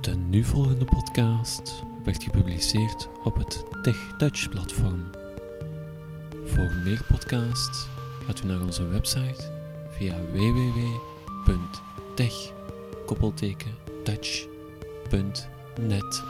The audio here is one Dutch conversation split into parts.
De nu volgende podcast werd gepubliceerd op het TechTouch platform. Voor meer podcasts gaat u naar onze website via www.tech-touch.net.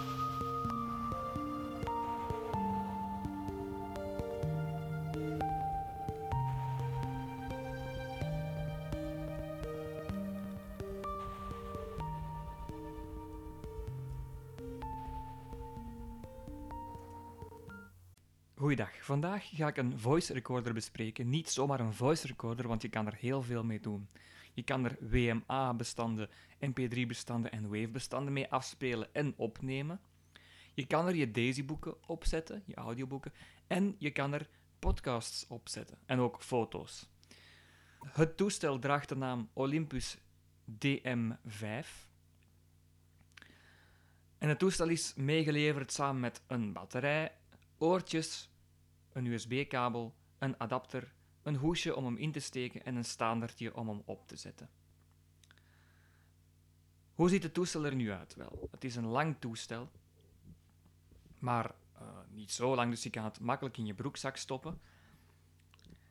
Goeiedag. Vandaag ga ik een voice recorder bespreken. Niet zomaar een voice recorder, want je kan er heel veel mee doen. Je kan er WMA-bestanden, MP3-bestanden en WAV-bestanden mee afspelen en opnemen. Je kan er je Daisy-boeken opzetten, je audioboeken, en je kan er podcasts opzetten en ook foto's. Het toestel draagt de naam Olympus DM5. En het toestel is meegeleverd samen met een batterij, oortjes, een USB-kabel, een adapter, een hoesje om hem in te steken en een standaardje om hem op te zetten. Hoe ziet het toestel er nu uit? Wel, het is een lang toestel, maar eh, niet zo lang, dus je kan het makkelijk in je broekzak stoppen.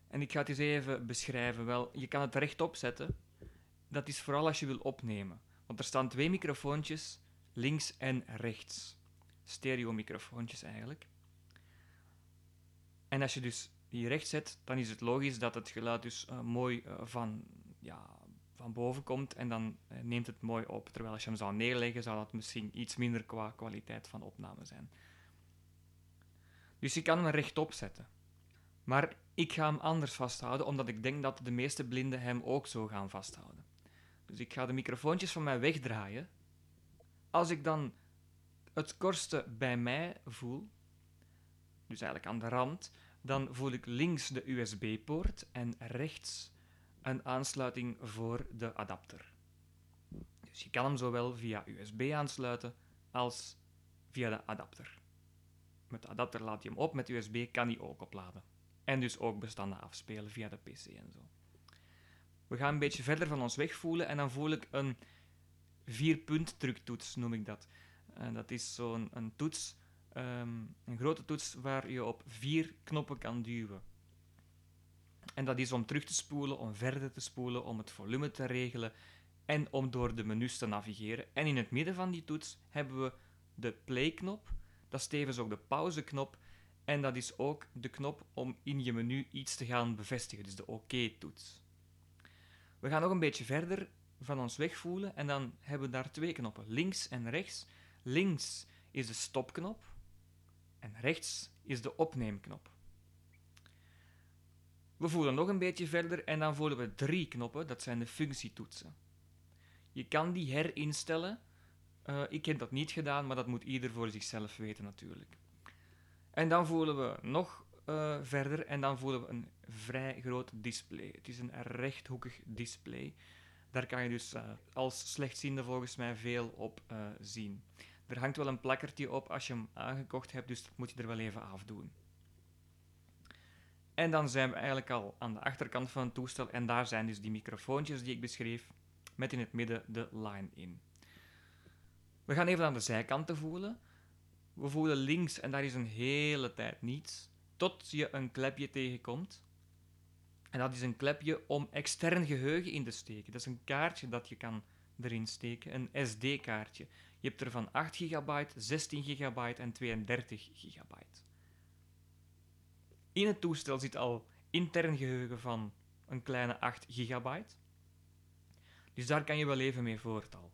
En ik ga het eens even beschrijven. Wel, je kan het rechtop zetten. Dat is vooral als je wil opnemen, want er staan twee microfoontjes, links en rechts. Stereo-microfoontjes eigenlijk. En als je dus die recht zet, dan is het logisch dat het geluid dus eh, mooi eh, van, ja, van boven komt en dan eh, neemt het mooi op. Terwijl als je hem zou neerleggen, zou dat misschien iets minder qua kwaliteit van opname zijn. Dus je kan hem rechtop zetten. Maar ik ga hem anders vasthouden, omdat ik denk dat de meeste blinden hem ook zo gaan vasthouden. Dus ik ga de microfoontjes van mij wegdraaien. Als ik dan het korste bij mij voel, dus eigenlijk aan de rand, dan voel ik links de USB-poort en rechts een aansluiting voor de adapter. Dus je kan hem zowel via USB aansluiten als via de adapter. Met de adapter laat je hem op, met USB kan hij ook opladen. En dus ook bestanden afspelen via de PC en zo. We gaan een beetje verder van ons weg voelen en dan voel ik een vierpunt druktoets, noem ik dat. En dat is zo'n een toets Ehm, een grote toets waar je op vier knoppen kan duwen. En dat is om terug te spoelen, om verder te spoelen, om het volume te regelen en om door de menus te navigeren. En in het midden van die toets hebben we de play-knop, dat is tevens ook de pauze-knop en dat is ook de knop om in je menu iets te gaan bevestigen, dus de OK-toets. we gaan nog een beetje verder van ons wegvoelen en dan hebben we daar twee knoppen, links en rechts. Links is de stopknop en rechts is de opneemknop. We voelen nog een beetje verder en dan voelen we drie knoppen, dat zijn de functietoetsen. Je kan die herinstellen. Eh, ik heb dat niet gedaan, maar dat moet ieder voor zichzelf weten natuurlijk. En dan voelen we nog eh, verder en dan voelen we een vrij groot display. Het is een rechthoekig display. Daar kan je dus eh, als slechtziende volgens mij veel op eh, zien. Er hangt wel een plakkertje op als je hem aangekocht hebt, dus dat moet je er wel even afdoen. En dan zijn we eigenlijk al aan de achterkant van het toestel en daar zijn dus die microfoontjes die ik beschreef, met in het midden de line in. We gaan even aan de zijkanten voelen. We voelen links en daar is een hele tijd niets, tot je een klepje tegenkomt. En dat is een klepje om extern geheugen in te steken. Dat is een kaartje dat je kan erin steken, een SD-kaartje. Je hebt er van 8 gigabyte, 16 gigabyte en 32 gigabyte. In het toestel zit al intern geheugen van een kleine 8 gigabyte. Dus daar kan je wel even mee voort al.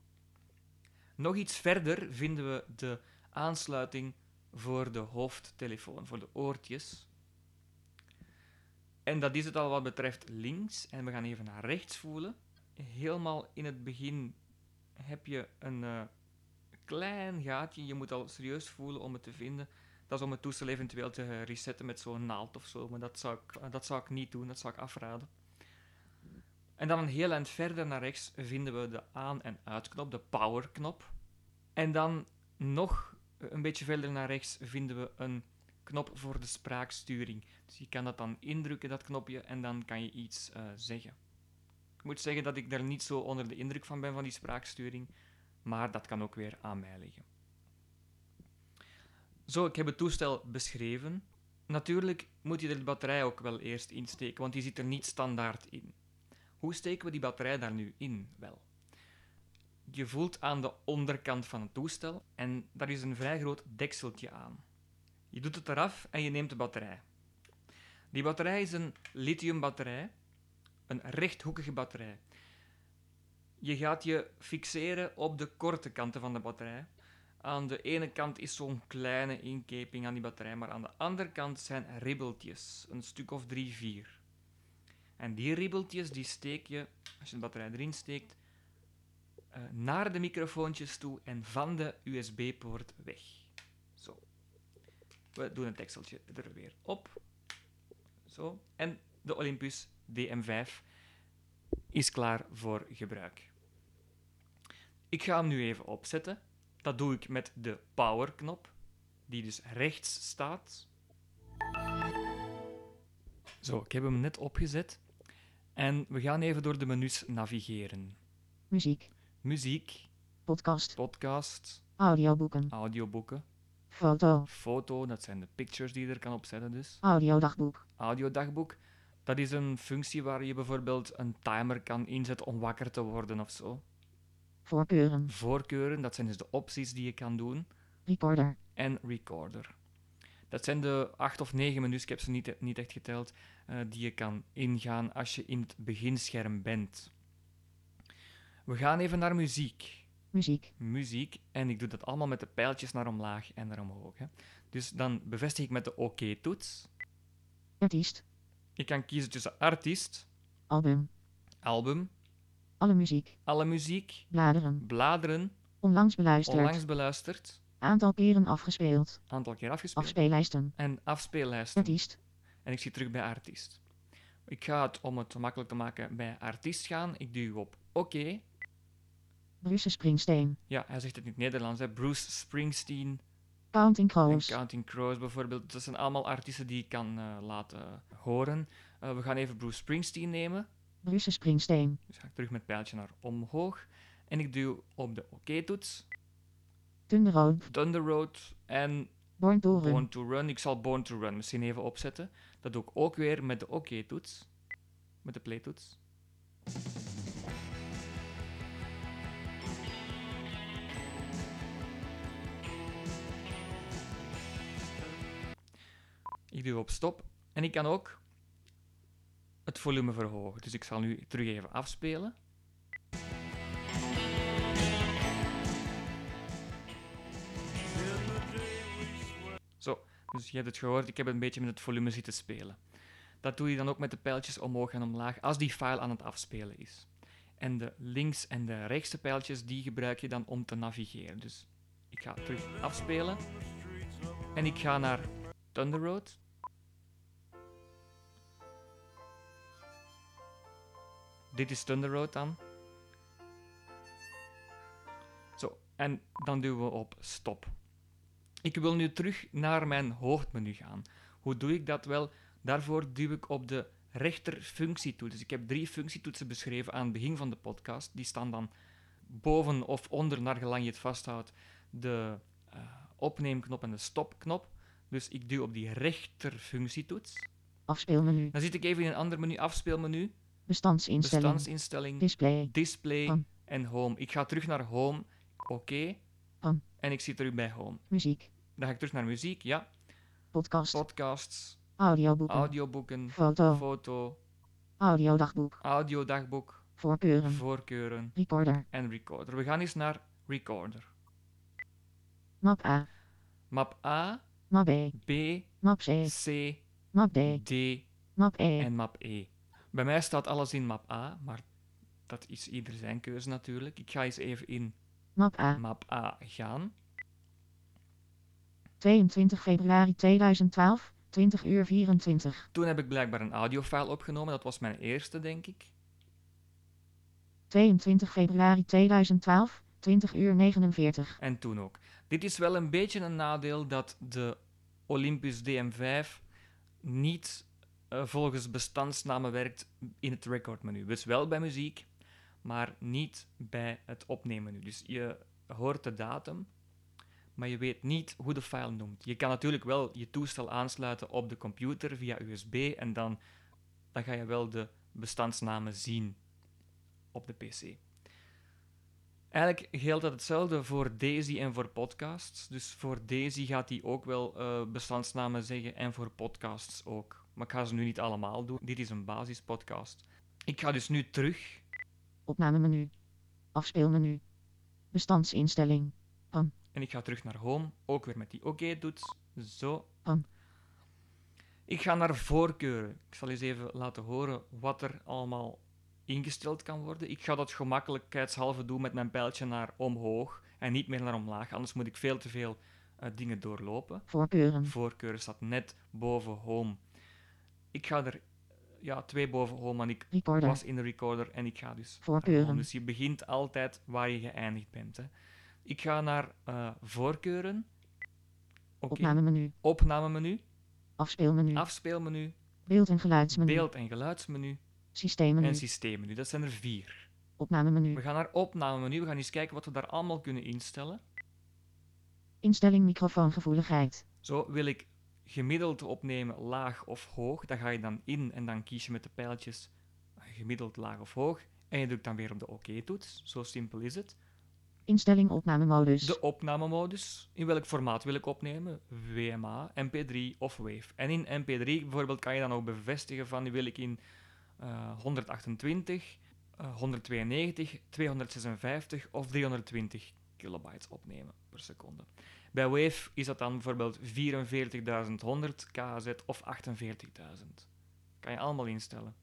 Nog iets verder vinden we de aansluiting voor de hoofdtelefoon, voor de oortjes. En dat is het al wat betreft links. En we gaan even naar rechts voelen. Helemaal in het begin heb je een eh, klein gaatje. Je moet al serieus voelen om het te vinden. Dat is om het toestel eventueel te eh, resetten met zo'n naald of zo. Maar dat zou, ik, eh, dat zou ik niet doen, dat zou ik afraden. En dan een heel eind verder naar rechts vinden we de aan- en uitknop, de powerknop. En dan nog een beetje verder naar rechts vinden we een knop voor de spraaksturing. Dus je kan dat dan indrukken, dat knopje, en dan kan je iets eh, zeggen. Ik moet zeggen dat ik daar niet zo onder de indruk van ben van die spraaksturing. Maar dat kan ook weer aan mij liggen. Zo, ik heb het toestel beschreven. Natuurlijk moet je er de batterij ook wel eerst insteken, want die zit er niet standaard in. Hoe steken we die batterij daar nu in wel? Je voelt aan de onderkant van het toestel en daar is een vrij groot dekseltje aan. Je doet het eraf en je neemt de batterij. Die batterij is een lithiumbatterij, een rechthoekige batterij. Je gaat je fixeren op de korte kanten van de batterij. Aan de ene kant is zo'n kleine inkeping aan die batterij, maar aan de andere kant zijn ribbeltjes, een stuk of drie, vier. En die ribbeltjes die steek je, als je de batterij erin steekt, eh, naar de microfoontjes toe en van de USB-poort weg. Zo. We doen het tekseltje er weer op. Zo. En de Olympus DM5 is klaar voor gebruik. Ik ga hem nu even opzetten. Dat doe ik met de powerknop, die dus rechts staat. Zo, ik heb hem net opgezet. En we gaan even door de menus navigeren. Muziek. Muziek, Podcast. podcast, Audioboeken. audioboeken, Foto. foto, dat zijn de pictures die je er kan opzetten dus. Audiodagboek. Audiodagboek, dat is een functie waar je bijvoorbeeld een timer kan inzetten om wakker te worden of zo. Voorkeuren. Voorkeuren, dat zijn dus de opties die je kan doen. Recorder. en recorder. Dat zijn de acht of negen menus, ik heb ze niet, niet echt geteld, eh, die je kan ingaan als je in het beginscherm bent. We gaan even naar muziek. Muziek. Muziek, en ik doe dat allemaal met de pijltjes naar omlaag en naar omhoog. Hè. Dus dan bevestig ik met de OK-toets. Artiest. ik kan kiezen tussen artiest, Album. album, Alle muziek. alle muziek, Bladeren. bladeren, Onlangs beluisterd. onlangs beluisterd, Aantal keren afgespeeld. aantal keer afgespeeld, Afspeellijsten. en afspeellijsten. Artiest. En ik zie terug bij artiest. Ik ga het, om het makkelijk te maken, bij artiest gaan. Ik duw op oké. Bruce Springsteen. Ja, hij zegt het in het Nederlands. Hè. Bruce Springsteen Counting en Crows. Counting Crows bijvoorbeeld. Dat zijn allemaal artiesten die ik kan eh, laten horen. Eh, we gaan even Bruce Springsteen nemen. Bruce Springsteen. Dus ga ik terug met het pijltje naar omhoog. En ik duw op de oké-toets. Thunder Road. Thunder Road en Born to Run. Born to Run. Ik zal Born to Run misschien even opzetten. Dat doe ik ook weer met de oké-toets. Met de play-toets. Ik duw op stop. En ik kan ook het volume verhogen. Dus ik zal nu terug even afspelen. Zo, dus je hebt het gehoord, ik heb een beetje met het volume zitten spelen. Dat doe je dan ook met de pijltjes omhoog en omlaag als die file aan het afspelen is. En de links- en de rechtse pijltjes die gebruik je dan om te navigeren. Dus ik ga terug afspelen. En ik ga naar Thunder Road. Dit is Thunder Road dan. Zo, en dan duwen we op stop. Ik wil nu terug naar mijn hoofdmenu gaan. Hoe doe ik dat wel? Daarvoor duw ik op de rechter functietoets. Dus ik heb drie functietoetsen beschreven aan het begin van de podcast. Die staan dan boven of onder, naar gelang je het vasthoudt, de eh, opneemknop en de stopknop. Dus ik duw op die rechter functietoets. Afspeelmenu. Dan zit ik even in een ander menu, afspeelmenu, Bestandsinstelling. bestandsinstelling, Display. display Home. en home. Ik ga terug naar home, oké. Home. En ik zit terug bij home. Muziek. Dan ga ik terug naar muziek, ja. Podcast. Podcasts, Audioboeken. audioboeken, Foto. foto, Audiodagboek. audiodagboek, Voorkeuren. voorkeuren Recorder. en recorder. We gaan eens naar recorder. Map A. Map A, Map B. B, Map C. C, Map D. D Map E. en map E. Bij mij staat alles in map A, maar dat is ieder zijn keuze natuurlijk. Ik ga eens even in Map A. map A gaan. 22 februari 2012, 20 uur 24. Toen heb ik blijkbaar een audiofile opgenomen. Dat was mijn eerste, denk ik. 22 februari 2012, 20 uur 49. En toen ook. Dit is wel een beetje een nadeel dat de Olympus DM5 niet eh, volgens bestandsnamen werkt in het recordmenu. Dus wel bij muziek, maar niet bij het opnemen nu. Dus je hoort de datum, maar je weet niet hoe de file noemt. Je kan natuurlijk wel je toestel aansluiten op de computer via USB en dan, dan ga je wel de bestandsnamen zien op de PC. Eigenlijk geldt dat hetzelfde voor Daisy en voor podcasts. Dus voor Daisy gaat hij ook wel eh, bestandsnamen zeggen en voor podcasts ook. Maar ik ga ze nu niet allemaal doen. Dit is een basispodcast. Ik ga dus nu terug. Opnamemenu. Afspeelmenu. Bestandsinstelling. En ik ga terug naar home. Ook weer met die oké-toets. Zo. Hm. Ik ga naar voorkeuren. Ik zal eens even laten horen wat er allemaal ingesteld kan worden. Ik ga dat gemakkelijkheidshalve doen met mijn pijltje naar omhoog en niet meer naar omlaag. Anders moet ik veel te veel eh, dingen doorlopen. Voorkeuren. Voorkeuren staat net boven home. Ik ga er ja, twee boven home en ik Recorder. was in de recorder en ik ga dus Voorkeuren. dus je begint altijd waar je geëindigd bent. Hè. Ik ga naar eh, voorkeuren. Oké. Opnamemenu. Opnamemenu, Afspeelmenu. afspeelmenu, Beeld- en geluidsmenu. beeld- en geluidsmenu Systeemmenu. en systeemmenu. Dat zijn er vier. We Opnamemenu. gaan naar opnamemenu. We gaan eens kijken wat we daar allemaal kunnen instellen. Instelling microfoongevoeligheid. Zo wil ik gemiddeld opnemen, laag of hoog. Daar ga je dan in en dan kies je met de pijltjes gemiddeld, laag of hoog. En je drukt dan weer op de oké-toets. Zo simpel is het. Instelling opnamemodus. De opnamemodus. In welk formaat wil ik opnemen? WMA, MP3 of WAV. En in MP3 bijvoorbeeld kan je dan ook bevestigen van die wil ik in eh, 128, eh, 192, 256 of 320 kilobytes opnemen per seconde. Bij WAV is dat dan bijvoorbeeld 44.100 kz of 48.000. Kan je allemaal instellen.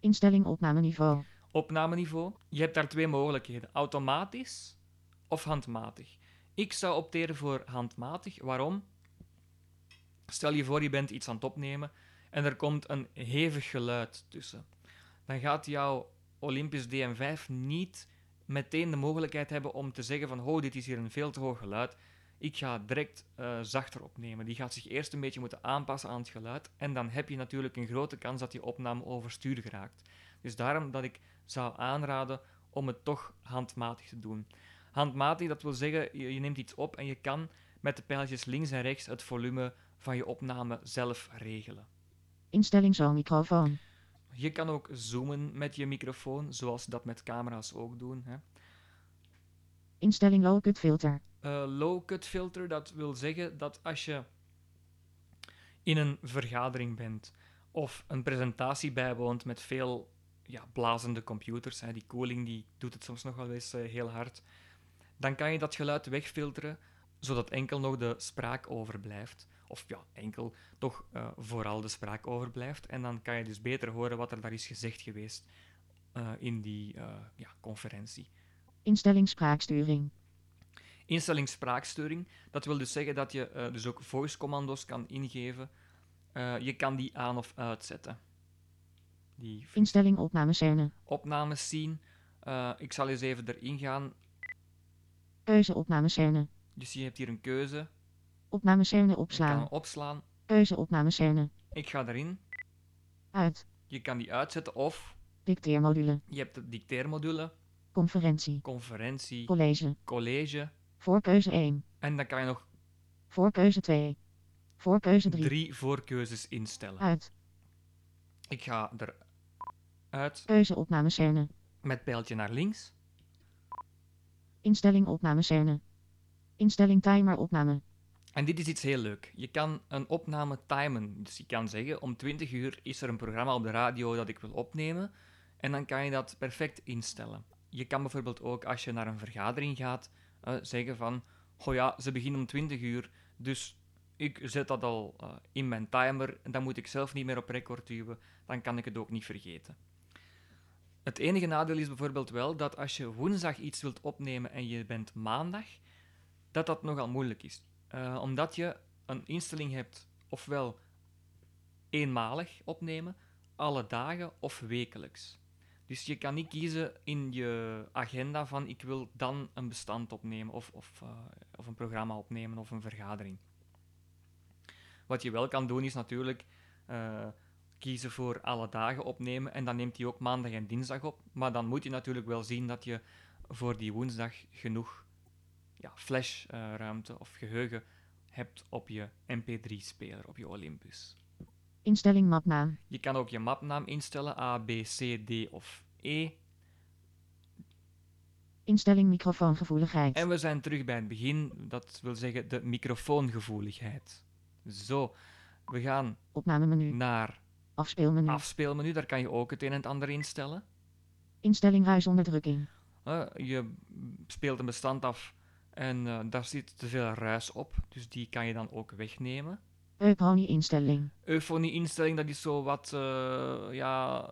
Instelling opnameniveau. Opnameniveau. Je hebt daar twee mogelijkheden: automatisch of handmatig. Ik zou opteren voor handmatig. Waarom? Stel je voor, je bent iets aan het opnemen en er komt een hevig geluid tussen. Dan gaat jouw Olympus DM5 niet meteen de mogelijkheid hebben om te zeggen van oh, dit is hier een veel te hoog geluid. Ik ga direct eh, zachter opnemen. Die gaat zich eerst een beetje moeten aanpassen aan het geluid. En dan heb je natuurlijk een grote kans dat je opname overstuur geraakt. Dus daarom dat ik zou aanraden om het toch handmatig te doen. Handmatig, dat wil zeggen, je, je neemt iets op en je kan met de pijltjes links en rechts het volume van je opname zelf regelen. Instelling zo'n microfoon. Je kan ook zoomen met je microfoon, zoals ze dat met camera's ook doen. Hè. Instelling low-cut filter. Eh, low cut filter, dat wil zeggen dat als je in een vergadering bent of een presentatie bijwoont met veel ja, blazende computers, hè, die koeling die doet het soms nog wel eens eh, heel hard, dan kan je dat geluid wegfilteren zodat enkel nog de spraak overblijft. Of ja, enkel toch eh, vooral de spraak overblijft. En dan kan je dus beter horen wat er daar is gezegd geweest eh, in die eh, ja, conferentie. Instelling spraaksturing. Instelling spraaksturing. Dat wil dus zeggen dat je eh, dus ook voice-commando's kan ingeven. Eh, je kan die aan of uitzetten. Die functie- Instelling opnamescène. opnames zien. Eh, ik zal eens even erin gaan. Keuze opnamescène. Dus je hebt hier een keuze. Opnamescène Je kan hem opslaan. opslaan. Keuze opnamescène. Ik ga erin. Uit. Je kan die uitzetten of Dicteermodule. je hebt de dicteermodule, Conferentie. conferentie, College. college. Voorkeuze 1. En dan kan je nog Voorkeuze 2. Voorkeuze 3. drie voorkeuzes instellen. Uit. Ik ga eruit Keuze opnamescène. met pijltje naar links. Instelling opnamescène. Instelling timer opname. En dit is iets heel leuk. Je kan een opname timen. Dus je kan zeggen, om 20 uur is er een programma op de radio dat ik wil opnemen. En dan kan je dat perfect instellen. Je kan bijvoorbeeld ook, als je naar een vergadering gaat, eh, zeggen van... Oh ja, ze beginnen om 20 uur, dus ik zet dat al eh, in mijn timer. En dan moet ik zelf niet meer op record duwen. Dan kan ik het ook niet vergeten. Het enige nadeel is bijvoorbeeld wel dat als je woensdag iets wilt opnemen en je bent maandag, dat dat nogal moeilijk is. Eh, omdat je een instelling hebt, ofwel eenmalig opnemen, alle dagen of wekelijks. Dus je kan niet kiezen in je agenda van ik wil dan een bestand opnemen of, of, eh, of een programma opnemen of een vergadering. Wat je wel kan doen is natuurlijk eh, kiezen voor alle dagen opnemen en dan neemt hij ook maandag en dinsdag op. Maar dan moet je natuurlijk wel zien dat je voor die woensdag genoeg ja, flashruimte of geheugen hebt op je MP3-speler, op je Olympus. Instelling mapnaam. Je kan ook je mapnaam instellen, A, B, C, D of E. Instelling microfoongevoeligheid. En we zijn terug bij het begin, dat wil zeggen de microfoongevoeligheid. Zo, we gaan Mm. Opnamemenu. naar Afspeelmenu. afspeelmenu, daar kan je ook het een en het ander instellen. Instelling ruisonderdrukking. Eh, je speelt een bestand af en eh, daar zit te veel ruis op, dus die kan je dan ook wegnemen. Euphony instelling. eufonie-instelling, dat is zo wat, eh, ja,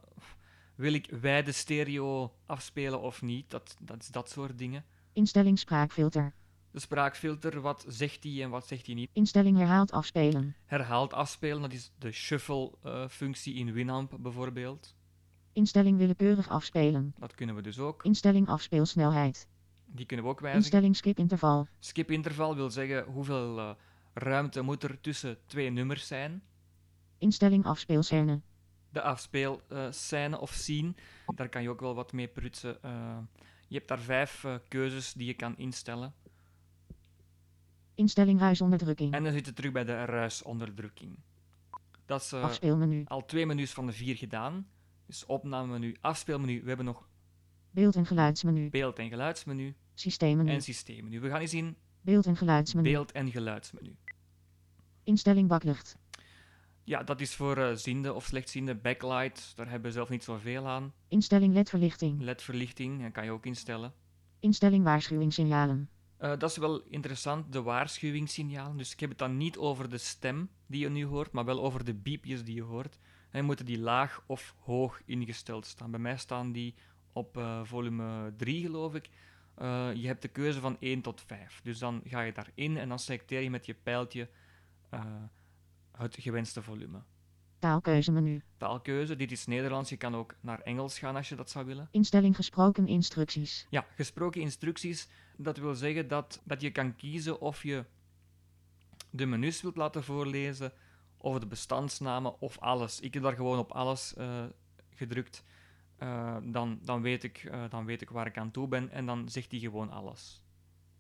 wil ik wijde stereo afspelen of niet? Dat, dat is dat soort dingen. Instelling spraakfilter. De spraakfilter, wat zegt hij en wat zegt hij niet? Instelling herhaald afspelen. Herhaald afspelen, dat is de shuffle-functie in Winamp bijvoorbeeld. Instelling willekeurig afspelen. Dat kunnen we dus ook. Instelling afspeelsnelheid. Die kunnen we ook wijzigen. Instelling skipinterval. Skip-interval wil zeggen hoeveel eh, ruimte moet er tussen twee nummers zijn. Instelling afspeelscène. de afspeelscène of scene. Daar kan je ook wel wat mee prutsen. Eh, je hebt daar vijf eh, keuzes die je kan instellen. Instelling ruisonderdrukking. En dan zit je terug bij de ruisonderdrukking. Dat is eh, Afspeelmenu. al twee menus van de vier gedaan. Dus opnamemenu, afspeelmenu. We hebben nog Beeld- en geluidsmenu. beeld- en geluidsmenu en Systeemmenu. systeemmenu. We gaan eens in Beeld- en geluidsmenu. beeld- en geluidsmenu. Instelling baklicht. Ja, dat is voor eh ziende of slechtziende backlight. Daar hebben we zelf niet zoveel aan. Mhm. Instelling ledverlichting. LED-verlichting, dat kan je ook instellen. Instelling waarschuwingssignalen. Eh, dat is wel interessant, de waarschuwingssignalen. Dus ik heb het dan niet over de stem die je nu hoort, maar wel over de biepjes die je hoort. En moeten die laag of hoog ingesteld staan. Bij mij staan die op eh, volume 3, geloof ik. Eh, je hebt de keuze van 1 tot 5. Dus dan ga je daarin en dan selecteer je met je pijltje eh, het gewenste volume. Taalkeuzemenu. Taalkeuze, dit is Nederlands. Je kan ook naar Engels gaan als je dat zou willen. Instelling gesproken instructies. Ja, gesproken instructies, dat wil zeggen dat, dat je kan kiezen of je de menus wilt laten voorlezen, of de bestandsnamen, of alles. Ik heb daar gewoon op alles eh, gedrukt. Eh, dan, dan, weet ik, eh, dan weet ik waar ik aan toe ben en dan zegt hij gewoon alles.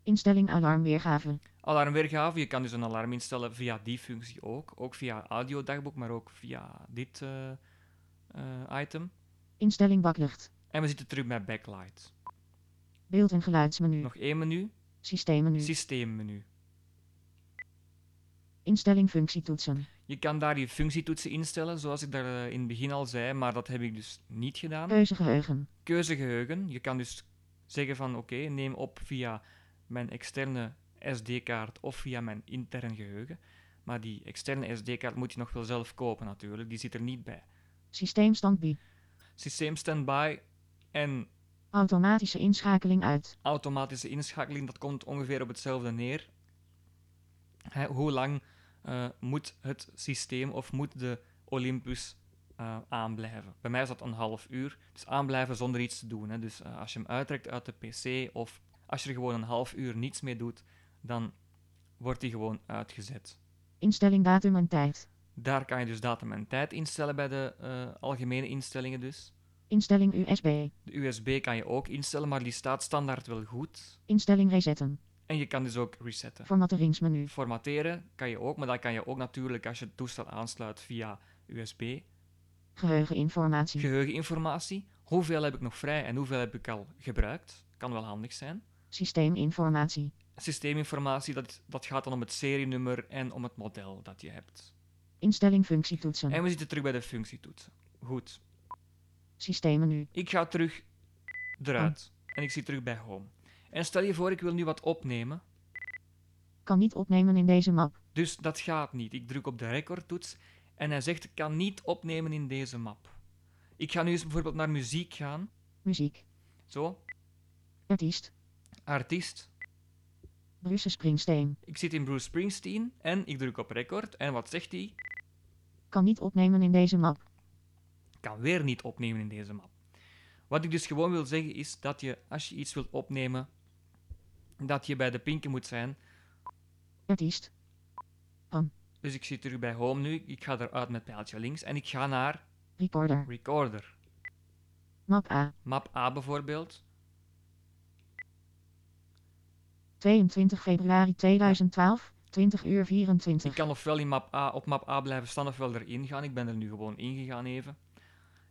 Instelling alarmweergave. Alarmweergave, je kan dus een alarm instellen via die functie ook. Ook via audiodagboek, maar ook via dit eh, eh, item. Instelling baklicht. En we zitten terug bij backlight. Beeld- en geluidsmenu. Nog één menu, Systeemmenu. systeemmenu. Instelling functietoetsen. Je kan daar je functietoetsen instellen, zoals ik daar eh, in het begin al zei, maar dat heb ik dus niet Mm. gedaan. Keuzegeheugen. Keuzegeheugen. Je kan dus zeggen van oké, neem op via mijn externe SD-kaart of via mijn intern geheugen. Maar die externe SD-kaart moet je nog wel zelf kopen natuurlijk, die zit er niet bij. Systeemstand bi. Systeem standby en Automatische inschakeling uit. automatische inschakeling, dat komt ongeveer op hetzelfde neer. Hè, hoe lang eh, moet het systeem of moet de Olympus eh, aanblijven? Bij mij is dat een half uur. Dus aanblijven zonder iets te doen. Hè. Dus eh, als je hem uittrekt uit de PC of als je er gewoon een half uur niets mee doet, dan wordt hij gewoon uitgezet. Instelling datum en tijd. Daar kan je dus datum en tijd instellen bij de eh, algemene instellingen dus. Instelling USB. De USB kan je ook instellen, maar die staat standaard wel goed. Instelling resetten. En je kan dus ook resetten. Formatteringsmenu. Formateren kan je ook, maar dat kan je ook natuurlijk als je het toestel aansluit via USB. Geheugeninformatie. Geheugeninformatie. Hoeveel heb ik nog vrij en hoeveel heb ik al gebruikt? Kan wel handig zijn. Systeeminformatie. Systeeminformatie, dat, dat gaat dan om het serienummer en om het model dat je hebt. Instelling functietoetsen. En we zitten terug bij de functietoetsen. Goed. Systeemmenu. Ik ga terug eruit. En ik zit terug bij home. En stel je voor, ik wil nu wat opnemen. Kan niet opnemen in deze map. Dus dat gaat niet. Ik druk op de recordtoets en hij zegt: ik kan niet opnemen in deze map. Ik ga nu eens bijvoorbeeld naar muziek gaan. Muziek. Zo, Artiest. artiest. Bruce Springsteen. Ik zit in Bruce Springsteen en ik druk op record. En wat zegt hij? Kan niet opnemen in deze map. Kan weer niet opnemen in deze map. Wat ik dus gewoon wil zeggen is dat je, als je iets wilt opnemen, dat je bij de pinken moet zijn. Artiest. Dus ik zit terug bij home nu. Ik ga eruit met pijltje links en ik ga naar Recorder. Recorder. Map A. Map A bijvoorbeeld. 22 februari 2012, 20 uur Ik 24. kan ofwel in map A, op map A blijven staan ofwel erin gaan. Ik ben er nu gewoon ingegaan even.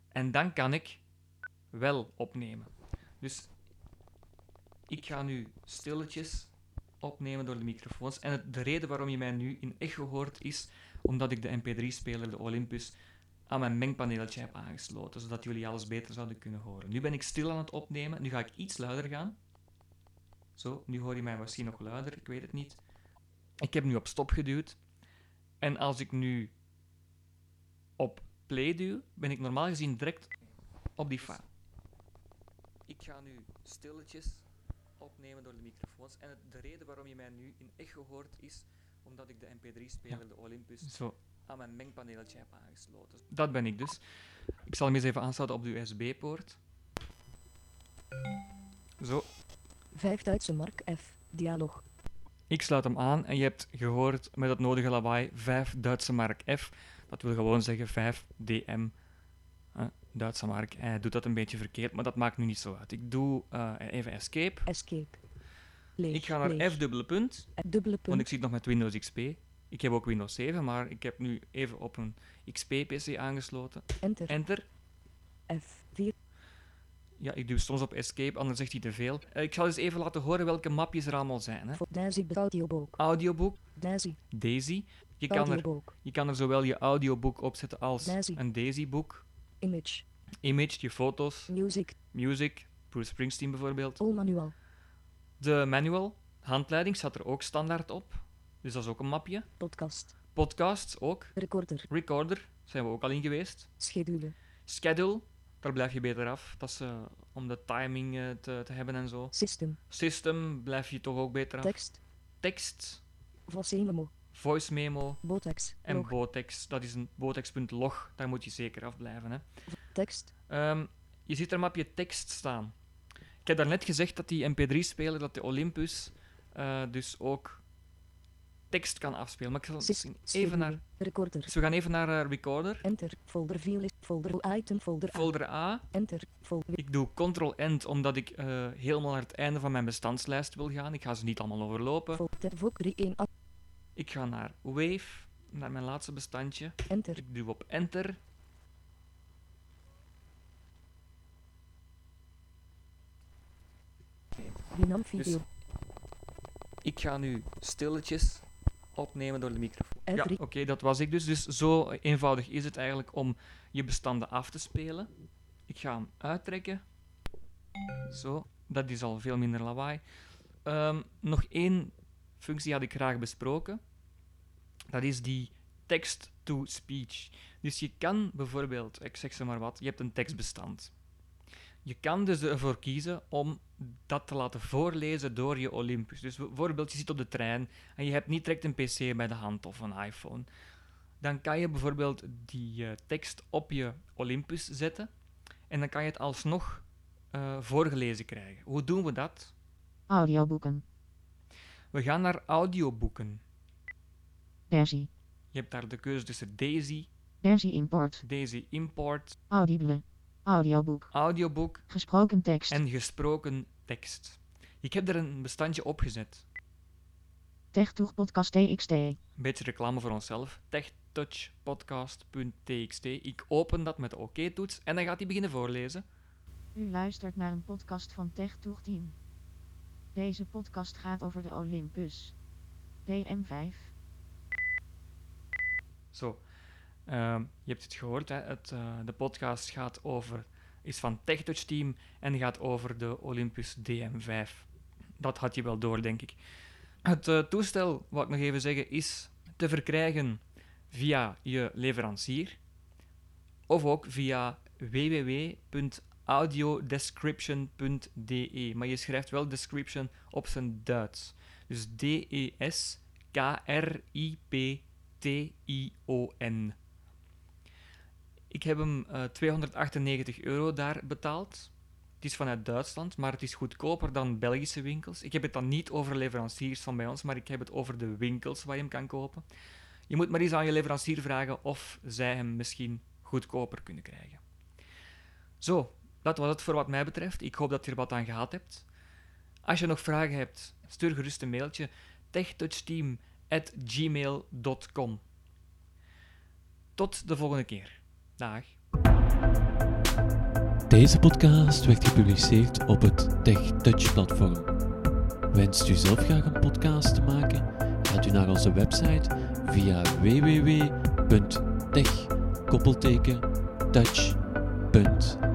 En dan kan ik wel opnemen. Dus ik ga nu stilletjes opnemen door de microfoons. En het- de reden waarom je mij nu in echo hoort is omdat ik de MP3-speler, de Olympus, aan mijn mengpaneeltje heb aangesloten. Zodat jullie alles beter zouden kunnen horen. Nu ben ik stil aan het opnemen. Nu ga ik iets luider gaan. Zo, nu hoor je mij misschien nog luider. Ik weet het niet. Ik heb nu op stop geduwd. En als ik nu op play duw, ben ik normaal gezien direct op die file. Ik ga nu stilletjes opnemen door de microfoons. En het- de reden waarom je mij nu in echo hoort is omdat ik de MP3-speler, de Olympus, aan mijn mengpaneeltje heb aangesloten. Dat ben ik dus. Ik zal hem eens even aansluiten op de USB-poort. Zo, 5 Duitse mark F. Dialoog. Ik sluit hem aan en je hebt gehoord met het nodige lawaai 5 Duitse mark F. Dat wil gewoon zeggen 5 DM. Eh, Duitse mark. Hij doet dat een beetje verkeerd, maar dat maakt nu niet zo uit. Ik doe eh, even escape. Escape. Leeg. Ik ga naar leeg. F dubbele punt, Eh, Dubbele want punt. ik zit nog met Windows XP. Ik heb ook Windows 7, maar ik heb nu even op een XP-PC aangesloten. Enter. Enter. F. 4. Ja, ik duw soms op escape, anders zegt hij te veel. Eh, ik zal eens even laten horen welke mapjes er allemaal zijn. Hè. Voor Daisy audiobook. Audiobook, Daisy. Daisy. Je kan er Audiobook. Je kan er zowel je audioboek opzetten als Daisy. een Daisy-boek, Image. image, je foto's, Music. music, Bruce Springsteen bijvoorbeeld. All manual. De manual, handleiding, staat er ook standaard op. Dus dat is ook een mapje. Podcast. Podcasts ook. Recorder. Recorder, zijn we ook al in geweest. Schedule. Schedule, daar blijf je beter af. Dat is eh, om de timing eh, te, te hebben en zo. System. System, blijf je toch ook beter af. Tekst. Tekst, Voice memo. voice memo Botex. en Log. botex. Dat is een botex.log, daar moet je zeker af blijven. Hè. Tekst. Ehm, je ziet er een mapje tekst staan. Ik heb daarnet gezegd dat die MP3-speler, dat de Olympus, eh, dus ook tekst kan afspelen. Maar ik zal Sys- misschien even schedule. naar... Recorder. Dus we gaan even naar eh, recorder. Enter. Folder file. is- Folder item. Folder A. Folder A. Enter. Folder. Ik doe Ctrl-End omdat ik eh, helemaal naar het einde van mijn bestandslijst wil gaan. Ik ga ze niet allemaal overlopen. Folder. Vok 3 1 A. Ik ga naar Wave, naar mijn laatste bestandje. Enter. Ik duw op Enter. Binam Dus- video. Ik ga nu stilletjes opnemen door de microfoon. Ja, F3. oké, dat was ik dus. Dus zo eenvoudig is het eigenlijk om je bestanden af te spelen. Ik ga hem uittrekken. Zo, dat is al veel minder lawaai. Ehm, nog één functie had ik graag besproken. Dat is die text-to-speech. Dus je kan bijvoorbeeld, ik zeg ze maar wat, je hebt een tekstbestand. Je kan dus ervoor kiezen om dat te laten voorlezen door je Olympus. Dus bijvoorbeeld, je zit op de trein en je hebt niet direct een PC bij de hand of een iPhone, dan kan je bijvoorbeeld die eh, tekst op je Olympus zetten en dan kan je het alsnog eh, voorgelezen krijgen. Hoe doen we dat? Audioboeken. We gaan naar audioboeken. Versie. Je hebt daar de keuze tussen Daisy, Versie import. Daisy Import, Audible. Audioboek. audioboek Gesproken tekst. en gesproken tekst. Ik heb er een bestandje opgezet. TechToeg podcast TXT. Een beetje reclame voor onszelf. techtouchpodcast.txt. Ik open dat met de OK-toets en dan gaat hij beginnen voorlezen. U luistert naar een podcast van TechToeg Team. Deze podcast gaat over de Olympus. DM5. Zo, ehm, je hebt het gehoord. Hè? Het, eh, de podcast gaat over, is van TechTouch Team en gaat over de Olympus DM5. Dat had je wel door, denk ik. Het eh, toestel, wat ik nog even zeggen, is te verkrijgen via je leverancier of ook via www.audiodescription.de. Maar je schrijft wel description op zijn Duits. Dus D-E-S-K-R-I-P T-I-O-N. Ik heb hem eh, 298 euro daar betaald. Het is vanuit Duitsland, maar het is goedkoper dan Belgische winkels. Ik heb het dan niet over leveranciers van bij ons, maar ik heb het over de winkels waar je hem kan kopen. Je moet maar eens aan je leverancier vragen of zij hem misschien goedkoper kunnen krijgen. Zo, dat was het voor wat mij betreft. Ik hoop dat je er wat aan gehad hebt. Als je nog vragen hebt, stuur gerust een mailtje techtouchteam@gmail.com. Tot de volgende keer. Dag. Deze podcast werd gepubliceerd op het TechTouch-platform. Wenst u zelf graag een podcast te maken? Gaat u naar onze website via www.tech-touch.nl